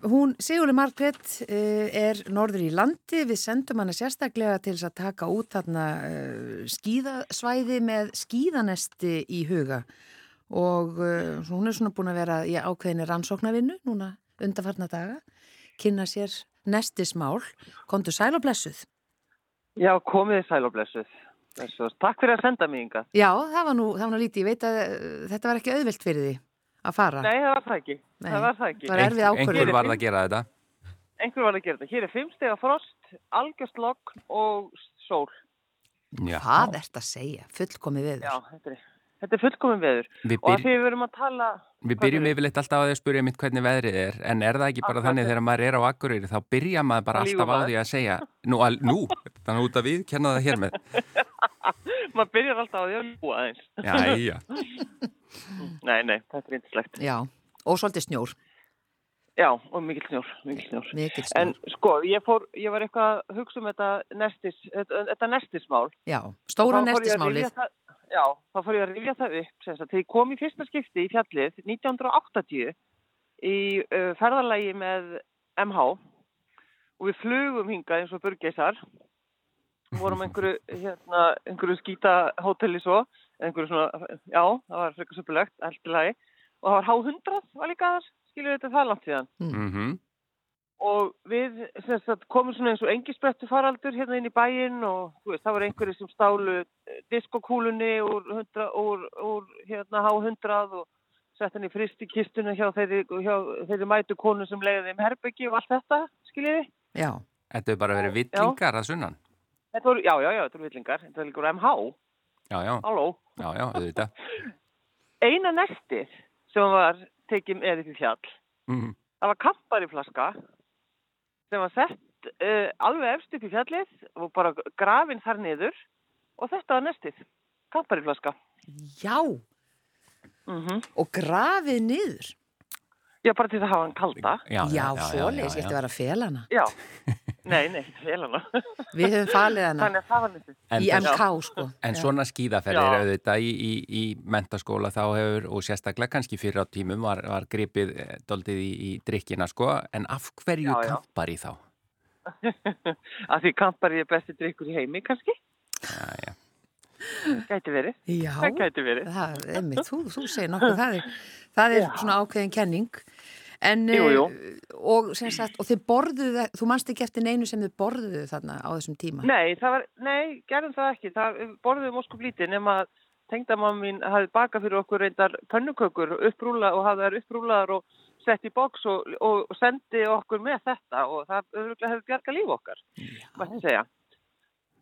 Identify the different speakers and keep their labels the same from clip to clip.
Speaker 1: Hún, Sigurður Margreth, er norður í landi. Við sendum hana sérstaklega til þess að taka út þarna eh, skíðasvæði með skíðanesti í huga og eh, hún er svona búin að vera í ákveðinni rannsóknarvinnu núna undarfarna daga, kynna sér nestismál. Kondur sæl og blessuð?
Speaker 2: Já, komiði sæl og blessuð. blessuð. Takk fyrir að senda mig ynga.
Speaker 1: Já, það var nú, það var nú lítið. Ég veit að eh, þetta var ekki auðvilt fyrir því að fara.
Speaker 2: Nei, það var það ekki.
Speaker 1: Nei,
Speaker 2: það var það ekki.
Speaker 1: það var erfið ákvörðun.
Speaker 3: Einhver var það að gera þetta.
Speaker 2: Einhver var að gera þetta. Hér er fimmstega frost, algjörst lokn og sól.
Speaker 3: Já.
Speaker 1: Hvað ert að segja? Fullkomi við.
Speaker 2: Já, þetta er, þetta er fullkomin veður.
Speaker 3: Við
Speaker 2: Og að
Speaker 3: byr-
Speaker 2: því við verum að tala...
Speaker 3: Við
Speaker 2: hvað
Speaker 3: byrjum
Speaker 2: er-
Speaker 3: yfirleitt alltaf á því að spyrja mitt hvernig veðrið er, en er það ekki bara
Speaker 2: Akkurat.
Speaker 3: þannig þegar maður er á Akureyri, þá byrja maður bara
Speaker 2: Þá lýgur
Speaker 3: alltaf á
Speaker 2: maður.
Speaker 3: því að segja, nú, al, nú þannig út að við kenna það hér með.
Speaker 2: Maður byrjar alltaf á því að ljúa aðeins.
Speaker 3: Já, já.
Speaker 2: Nei, nei, þetta er índislegt.
Speaker 1: Já, og svolítið snjór,
Speaker 2: Já, og mikill snjór, mikill snjór.
Speaker 1: mikill snjór.
Speaker 2: En sko, ég, fór, ég var eitthvað að hugsa um þetta, nestis, þetta, þetta nestismál.
Speaker 1: Já, stóra
Speaker 2: Þá fór ég að
Speaker 1: nestismálið.
Speaker 2: rifja það- Já, þá fór ég að rifja það upp sem sagt, þegar ég kom í fyrsta skipti í fjallið 1980 í uh, ferðalagi með MH og við flugum hingað eins og burgeisar vorum á einhverju, hérna, einhverju skýta hóteli svo eða einhverju svona, já, það var frekar söpulegt alltilagi og það var H100 var líka þar, skilur þetta það langt síðan
Speaker 3: Mm
Speaker 2: og við sem sagt, komum svona eins og engisbrettu faraldur hérna inn í bæinn og þú veist, það voru einhverjir sem stálu eh, diskokúlunni úr, 100, úr, úr hérna H100 og sett hann í fristikistuna hjá þeirri, hjá þeirri mætu konu sem leiði þeim herbyggi og allt þetta, skiljiði.
Speaker 1: Já,
Speaker 3: Þetta hefur bara verið villingar að sunnan.
Speaker 2: Þetta voru, já, já, já, þetta voru villingar, þetta voru líka úr MH,
Speaker 3: Já, já,
Speaker 2: halló.
Speaker 3: já, já, auðvitað.
Speaker 2: Eina næstið sem var tekið með upp í fjall,
Speaker 3: Mm.
Speaker 2: það var kampariflaska sem var sett uh, alveg efst upp í fjallið og bara grafin þar niður og þetta var næstið, kampariflaska.
Speaker 1: já,
Speaker 2: Mm
Speaker 1: og grafið niður.
Speaker 2: Já, bara til að hafa hann kalda.
Speaker 1: Já, svoleiðis, ég ætti að vera að fela hana.
Speaker 2: Já, nei, nei, vel hana.
Speaker 1: Við höfum falið hana
Speaker 2: Þannig að það var næstið.
Speaker 3: En,
Speaker 1: í
Speaker 3: þess-
Speaker 1: MK, sko.
Speaker 3: en
Speaker 1: Já.
Speaker 3: svona skíðaferðir
Speaker 2: Já.
Speaker 3: auðvitað í, í, í mentaskóla þá hefur, og sérstaklega kannski fyrir á tímum var, var gripið eh, doldið í, í drikkina, sko, en af hverju
Speaker 2: Já, já.
Speaker 3: kampar í þá?
Speaker 2: Af því kampari er besti drikkur í heimi, kannski. Já, já. Gæti verið, það
Speaker 1: Já,
Speaker 2: gæti verið.
Speaker 1: það, emmi, þú, þú segir nokkuð, það er, það er
Speaker 2: Já.
Speaker 1: svona ákveðin kenning. En,
Speaker 2: Jú, jú.
Speaker 1: eh, og sem sagt, og þið borðuðu, þú manst ekki eftir neinu sem þið borðuðu þarna á þessum tíma.
Speaker 2: Nei, það var, nei, gerðum það ekki. Það við borðum óskup lítið nema að tengdamann mín hafi bakað fyrir okkur reyndar pönnukökur upprúla og hafði þær upprúlaðar og sett í boks og, og, og sendi okkur með þetta og það örugglega hefur bjargað líf okkar, mætti segja.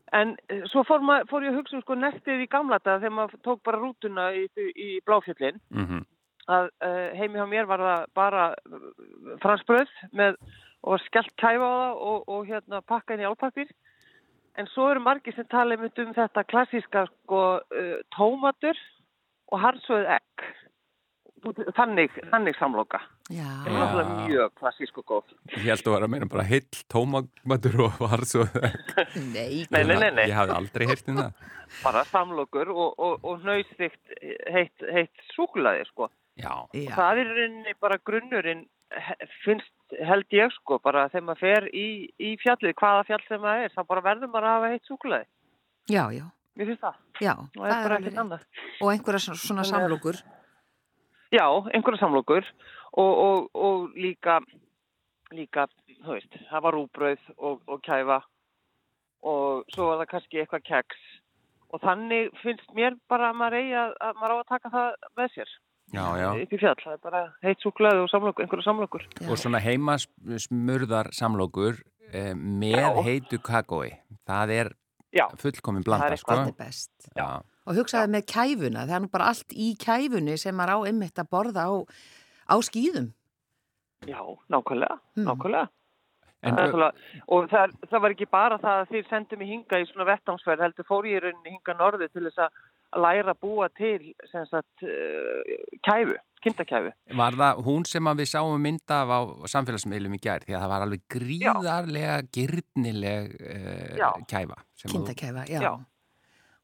Speaker 2: En eh, svo fór, ma, fór ég að hugsa um sko nestið í gamla dag þegar maður tók bara rútuna í, í bláfjöllin
Speaker 3: Mm
Speaker 2: að uh, heimi hjá mér var það bara fransbröð með og var skellt kæfa á það og, og hérna pakka inn í álpapir. En svo eru margir sem tala einmitt um þetta klassíska sko uh, tómatur og hardsöð egg. Þannig, þannig samloka. Það er
Speaker 1: Já,
Speaker 3: Já.
Speaker 2: náttúrulega mjög klassísk og góð.
Speaker 3: Ég held að vera að meina bara heill tómatur og var svo...
Speaker 1: nei,
Speaker 2: Nei, nei, nei, nei.
Speaker 3: Ég hafði aldrei heyrt um það.
Speaker 2: Bara samlokur og, og, og nöysvikt heitt, heitt súkulaði sko.
Speaker 3: Já,
Speaker 1: já,
Speaker 2: Það er í rauninni bara grunnurinn he- finnst held ég sko bara þegar maður fer í, í fjallið, hvaða fjall sem maður er, þá bara verður maður að hafa heitt súklaði.
Speaker 1: já, já,
Speaker 2: Mér finnst það.
Speaker 1: já,
Speaker 2: Og það er bara
Speaker 1: alveg
Speaker 2: ekkert
Speaker 1: rétt.
Speaker 2: annað.
Speaker 1: Og einhverja svona- svona
Speaker 2: Þannig að-
Speaker 1: samlokur.
Speaker 2: Já, einhverja samlokur og, og, og líka, líka, þú veist, hafa rúbröð og, og kæfa og svo var það kannski eitthvað keks. Og þannig finnst mér bara að maður eigi að, að maður á að taka það með sér
Speaker 3: já, já.
Speaker 2: upp í fjall. Það er bara heitt súklaði og samlokur, einhverja samlokur.
Speaker 1: Já.
Speaker 3: Og svona heima smurðar samlokur eh, með
Speaker 2: Já.
Speaker 3: heitu kakói. Það er
Speaker 2: Já.
Speaker 3: fullkomin
Speaker 2: Það
Speaker 3: blanda,
Speaker 2: er
Speaker 3: sko.
Speaker 1: Þetta er best.
Speaker 3: Já,
Speaker 1: Og hugsaði með kæfuna, það er nú bara allt í kæfunni sem maður á einmitt að borða á, á skýðum.
Speaker 2: Já, nákvæmlega,
Speaker 1: Mm.
Speaker 2: nákvæmlega.
Speaker 3: en
Speaker 2: Það er svolítið- og það, það var ekki bara það að þið sendu mig hinga í svona vettnámsverð, heldur fór ég í rauninni hinga norðu til þess að læra að búa til sem sagt uh, kæfu, kindakæfu.
Speaker 3: var það hún sem að við sáum mynda af á samfélagsmiðlum í gær því að það var alveg gríðarlega, gyrnileg eh,
Speaker 2: Já.
Speaker 3: kæfa. sem þú-
Speaker 1: Kindakæfa, já.
Speaker 2: Já.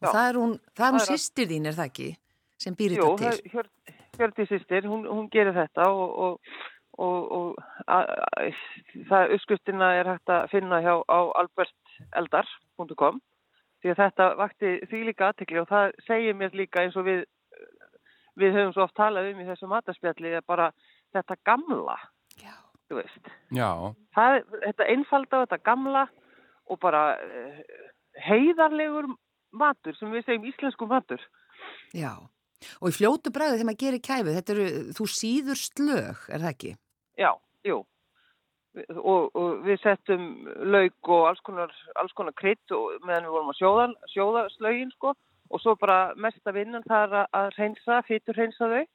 Speaker 1: Og
Speaker 2: Já.
Speaker 1: það er hún, það er hún
Speaker 2: Það er-
Speaker 1: sýstir þín, er það ekki? Sem býr
Speaker 2: Jú,
Speaker 1: þetta til.
Speaker 2: Hjördi sýstir, hún, hún gerir þetta og, og, og, og a, a, það uppskriftina er hægt að finna hjá á alberteldar.com því að þetta vakti því líka aðtekli og það segir mér líka eins og við við höfum svo oft talað um í þessu mataspjalli að bara þetta gamla
Speaker 1: Já.
Speaker 2: þú veist
Speaker 3: Já,
Speaker 2: það, þetta einfalda og þetta gamla og bara eh, heiðarlegur matur sem við segjum íslensku matur
Speaker 1: Já. Og í fljótu bræði þegar maður gerir kæfið, þetta eru, þú síður slög, er það ekki?
Speaker 2: Já, jú. Við- Og, og við settum lauk og alls konar, alls konar krydd og meðan við vorum að sjóða, sjóða slögin sko og svo bara mesta vinnan það er að- að reynsa, fýtur reynsa þau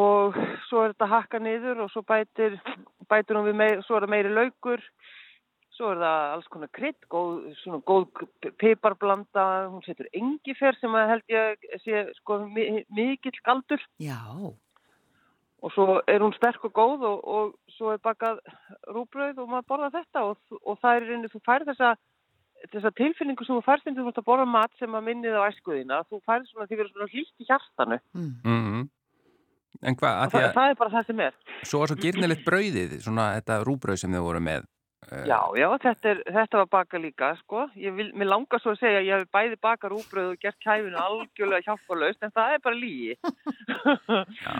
Speaker 2: og svo er þetta hakka niður og svo bætir, bætir hún við meir, svo er það meiri laukur svo er það alls konar krydd, góð, svona góð piparblanda, hún setur engifer sem að held ég sé sko mi- mikill galdur
Speaker 1: Já.
Speaker 2: og svo er hún sterk og góð og, og svo er bakað rúbröð og maður borða þetta og, og það er einu, þú færð þessa, þessa tilfinningu sem þú færst þegar þú fórst að borða mat sem að minnið á æskuðina, þú færð svona, því verður svona hlýtt í hjartanu
Speaker 1: Mm.
Speaker 3: mm en hvað, að
Speaker 2: og
Speaker 3: því
Speaker 2: það,
Speaker 3: að
Speaker 2: það er bara það sem er.
Speaker 3: svo var svo gyrnilegt brauðið, svona þetta rúbrauð sem þau voru með. eh,
Speaker 2: Já, já, þetta, er, þetta var bakað líka, sko. Ég vil, mér langar svo að segja að ég hef bæði bakað rúbröð og gert kæfinu algjörlega hjálparlaust, en það er bara lígi.
Speaker 3: Já,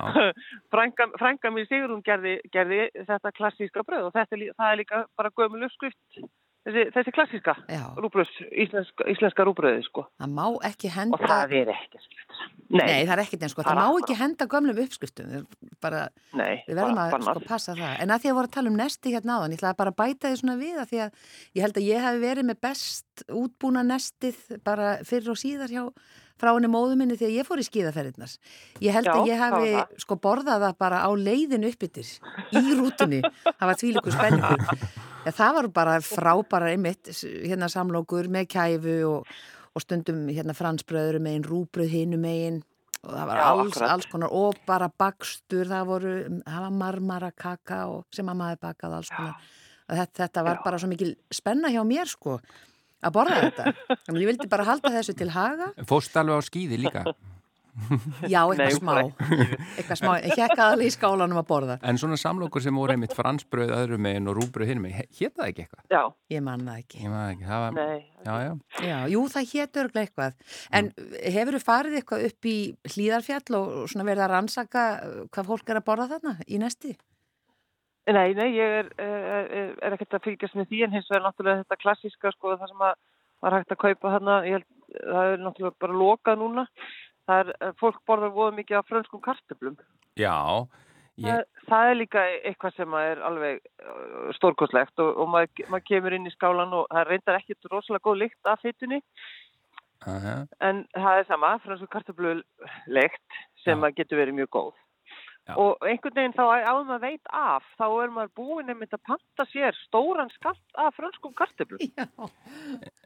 Speaker 2: frænga, frænga mér Sigrun gerði, gerði þetta klassíska bröð og þetta, er lí- það er líka bara gömul uppskrift, þessi, þessi klassíska.
Speaker 1: Já.
Speaker 2: rúbröðs, íslenska, íslenska rúbröði sko.
Speaker 1: Það má ekki henda...
Speaker 2: og það er ekki
Speaker 1: Nei,
Speaker 2: nei,
Speaker 1: það er ekkert eins sko,
Speaker 2: Það
Speaker 1: það
Speaker 2: er
Speaker 1: má
Speaker 2: bara-
Speaker 1: ekki henda gömlum uppskriftum, það er bara,
Speaker 2: nei
Speaker 1: við verðum að
Speaker 2: bara bannað.
Speaker 1: sko passa það. En að því að voru að tala um nesti hérna áðan, ég ætlaði bara að bæta því svona við að því að ég held að ég hafi verið með best útbúna nestið bara fyrir og síðar hjá frá henni móðu minni þegar ég fór í skíðaferðinars. Ég held
Speaker 2: Já,
Speaker 1: að ég
Speaker 2: það var
Speaker 1: hafi
Speaker 2: það.
Speaker 1: sko borðað það bara á leiðin uppbyttir í rútunni, það var tvílíkur spenningur. Ja, það var bara frábærar einmitt, s- hérna samlokur með kæfu og, og stundum hérna fransbröður megin, rúbröð hinu megin og það var
Speaker 2: Já,
Speaker 1: alls,
Speaker 2: akkurat.
Speaker 1: alls konar og bara bakstur, það voru um, það var marmara kaka og, sem að maður bakað alls konar. Og þetta, þetta var
Speaker 2: Já.
Speaker 1: bara svo mikil spenna hjá mér sko að borða þetta. Þannig ég vildi bara halda þessu til haga.
Speaker 3: fórst alveg á skýði líka.
Speaker 1: Já,
Speaker 2: Nei,
Speaker 1: eitthvað
Speaker 2: bara
Speaker 1: smá. Eitthvað smá, ég hekka alveg í skálanum að borða.
Speaker 3: En svona samlokur sem voru einmitt fransbröð öðrum meginn og rúbröð hinum meginn, hétt það ekki eitthvað?
Speaker 2: já,
Speaker 1: Ég man það ekki.
Speaker 3: Ég maður ekki, það var...
Speaker 2: nei
Speaker 3: Já, já.
Speaker 1: Já, jú, það hétt örglega eitthvað. En hefur þú farið eitthvað upp í hlýðarfjall og og svona verið að rannsaka uh, hvað fólk er að borða þarna í næsti?
Speaker 2: Nei, nei, ég er, er, er ekkert að fylgjast með því en hins vegar náttúrulega þetta klassíska sko það sem að var hægt að kaupa þarna, ég held, það er náttúrulega bara lokað núna. Það er, eh, fólk borðar voða mikið af frönskum kartöflum.
Speaker 3: Já, ég,
Speaker 2: Það, það er líka eitthvað sem að er alveg eh, stórkostlegt og, og maður, maður kemur inn í skálan og það reyndar ekkert rosalega góð lykt af fytunni
Speaker 3: aha,
Speaker 2: En það er sama, fransku kartöflulegt sem
Speaker 3: Já.
Speaker 2: að getur verið mjög góð.
Speaker 3: Já.
Speaker 2: Og einhvern veginn þá áður maður veit af, þá er maður búin einmitt að panta sér stóran skatt af franskum kartöflum
Speaker 1: Já.
Speaker 2: og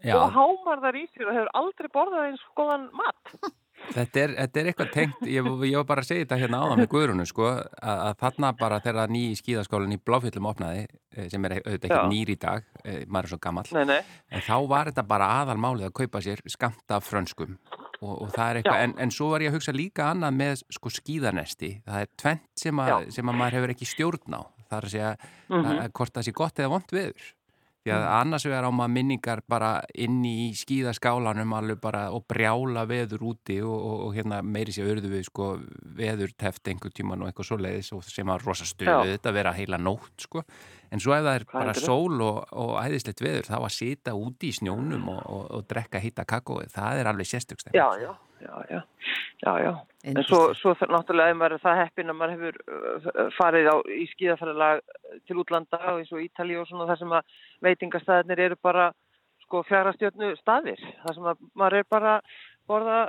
Speaker 3: já
Speaker 2: hámar þar í sér og hefur aldrei borðað eins góðan mat.
Speaker 3: þetta, er, þetta er eitthvað tengt, ég, ég var bara að segja þetta hérna áðan með Guðrunu, sko, að, að þarna bara þegar ný skíðaskólinn í Bláfjöllum opnaði, eh, sem er auðvitað
Speaker 2: Já.
Speaker 3: ekki nýr í dag, eh, maður er svo gamall,
Speaker 2: Nei, nei.
Speaker 3: en þá var þetta bara aðalmálið að kaupa sér skamta af frönskum og, og það er eitthvað,
Speaker 2: Já.
Speaker 3: en, en svo var ég að hugsa líka annað með sko skíðanesti, það er tvent sem, að-
Speaker 2: Já.
Speaker 3: sem að maður hefur ekki stjórn á, það er að segja
Speaker 2: Mm
Speaker 3: að að hvort það sé gott eða vond viður. Því að
Speaker 2: Mhm.
Speaker 3: annars vegar á maður minningar bara inn í skíðaskálanum alveg bara og brjála veður úti og, og, og hérna meiri sér urðu við sko veður teft einhver tíman og eitthvað svo leiðis og sem að rosa stuðu
Speaker 2: Já.
Speaker 3: þetta vera heila nótt sko. En svo ef það er
Speaker 2: Hvað
Speaker 3: bara
Speaker 2: heldurðu?
Speaker 3: sól og, og æðislegt veður þá að sita úti í snjónum og, og, og drekka heita kakóið, það er alveg sérstökst.
Speaker 2: Já, já, já, já, já, já. En svo, svo þarf náttúrulega ef maður er það heppin að maður hefur uh, farið á, í skíðafæralag uh, til útlanda og eins og Ítali og svona þar sem að veitingastæðinir eru bara sko fjarastjörnu staðir. Þar sem að maður er bara borða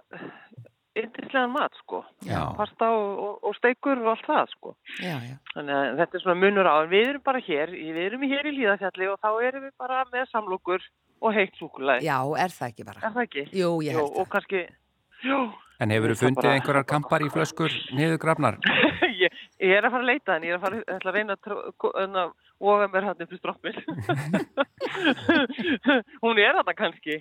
Speaker 2: yndislegan mat sko.
Speaker 3: Já.
Speaker 2: Pasta og, og, og steikur og allt það sko.
Speaker 1: Já, já.
Speaker 2: Þannig að þetta er svona munur á. En við erum bara hér, við erum hér í Líðafjalli og þá erum við bara með samlokur og heitt súkulæði.
Speaker 1: Já, er það ekki bara?
Speaker 2: Er það ekki?
Speaker 1: Jú, ég held
Speaker 2: og
Speaker 1: það.
Speaker 2: kannski... Jó,
Speaker 3: En hefur þú
Speaker 2: Það
Speaker 3: fundið
Speaker 2: bara-
Speaker 3: einhverjar kampar í flöskur niður grafnar?
Speaker 2: ég, ég er að fara að leita en ég er að fara ég ætla að reyna að, tró- ko- en að voga mér hann upp í stroppin hún er þetta kannski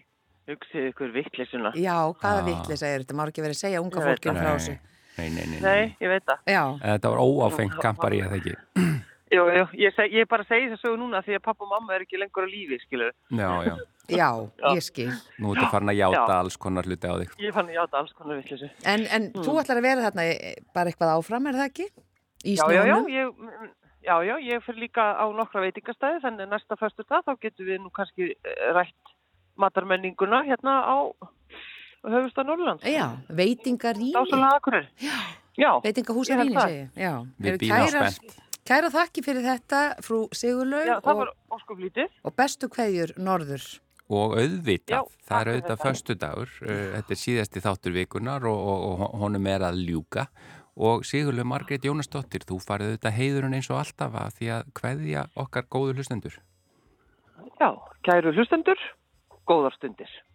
Speaker 2: hugsið ykkur vittlisuna
Speaker 1: Já, hvaða
Speaker 3: Ah.
Speaker 1: vittlis er þetta? Má ekki verið að segja unga
Speaker 2: Ég veit
Speaker 1: fólkinu frá
Speaker 3: Nei.
Speaker 1: þessu.
Speaker 3: Nei, nei, nei. nei.
Speaker 2: Nei, ég veit það.
Speaker 1: Já,
Speaker 3: En Þetta var óáfengt kampar ég það ekki.
Speaker 2: Jú, jú, ég, seg, ég bara segi þessu núna því að pappa og mamma er ekki lengur á lífi, skilur.
Speaker 3: Já, já.
Speaker 1: já, ég skil.
Speaker 3: Nú ertu farin að játa
Speaker 2: Já.
Speaker 3: alls konar hluti á þig.
Speaker 2: Ég fann að játa alls konar vittlisu.
Speaker 1: En, en þú
Speaker 2: Mm.
Speaker 1: ætlar að vera þarna eh, bara eitthvað áfram, er það ekki? Í
Speaker 2: Já, já, já,
Speaker 1: snjónum?
Speaker 2: ég, mm, já, já, ég fyrir líka á nokkra veitingastæði, þannig að næsta föstu dag þá getum við nú kannski eh, rætt matarmenninguna hérna á höfustan Norrlands.
Speaker 1: Já, veitingarýni,
Speaker 2: Dásalega akkurir. Já.
Speaker 1: veitingahúsa
Speaker 2: Ég held
Speaker 1: rýni
Speaker 2: það.
Speaker 1: segi. ég. Já,
Speaker 3: Við
Speaker 1: Eru
Speaker 3: bíðum
Speaker 1: kærar- Kæra þakki fyrir þetta, frú
Speaker 2: Já,
Speaker 1: Sigurlaug
Speaker 2: það
Speaker 1: og,
Speaker 2: var óskuplítið.
Speaker 1: og bestu kveðjur norður.
Speaker 3: Og auðvitað,
Speaker 2: Já,
Speaker 3: það er
Speaker 2: takk fyrir
Speaker 3: auðvitað
Speaker 2: þetta.
Speaker 3: föstudagur, uh, þetta er síðasti þáttur vikunar og, og, og honum er að ljúka og Sigurlega Margrét Jónasdóttir, þú farið auðvitað heiðurinn eins og alltaf að því að hverja okkar góðu hlustendur.
Speaker 2: Já, kæru hlustendur, góðar stundir.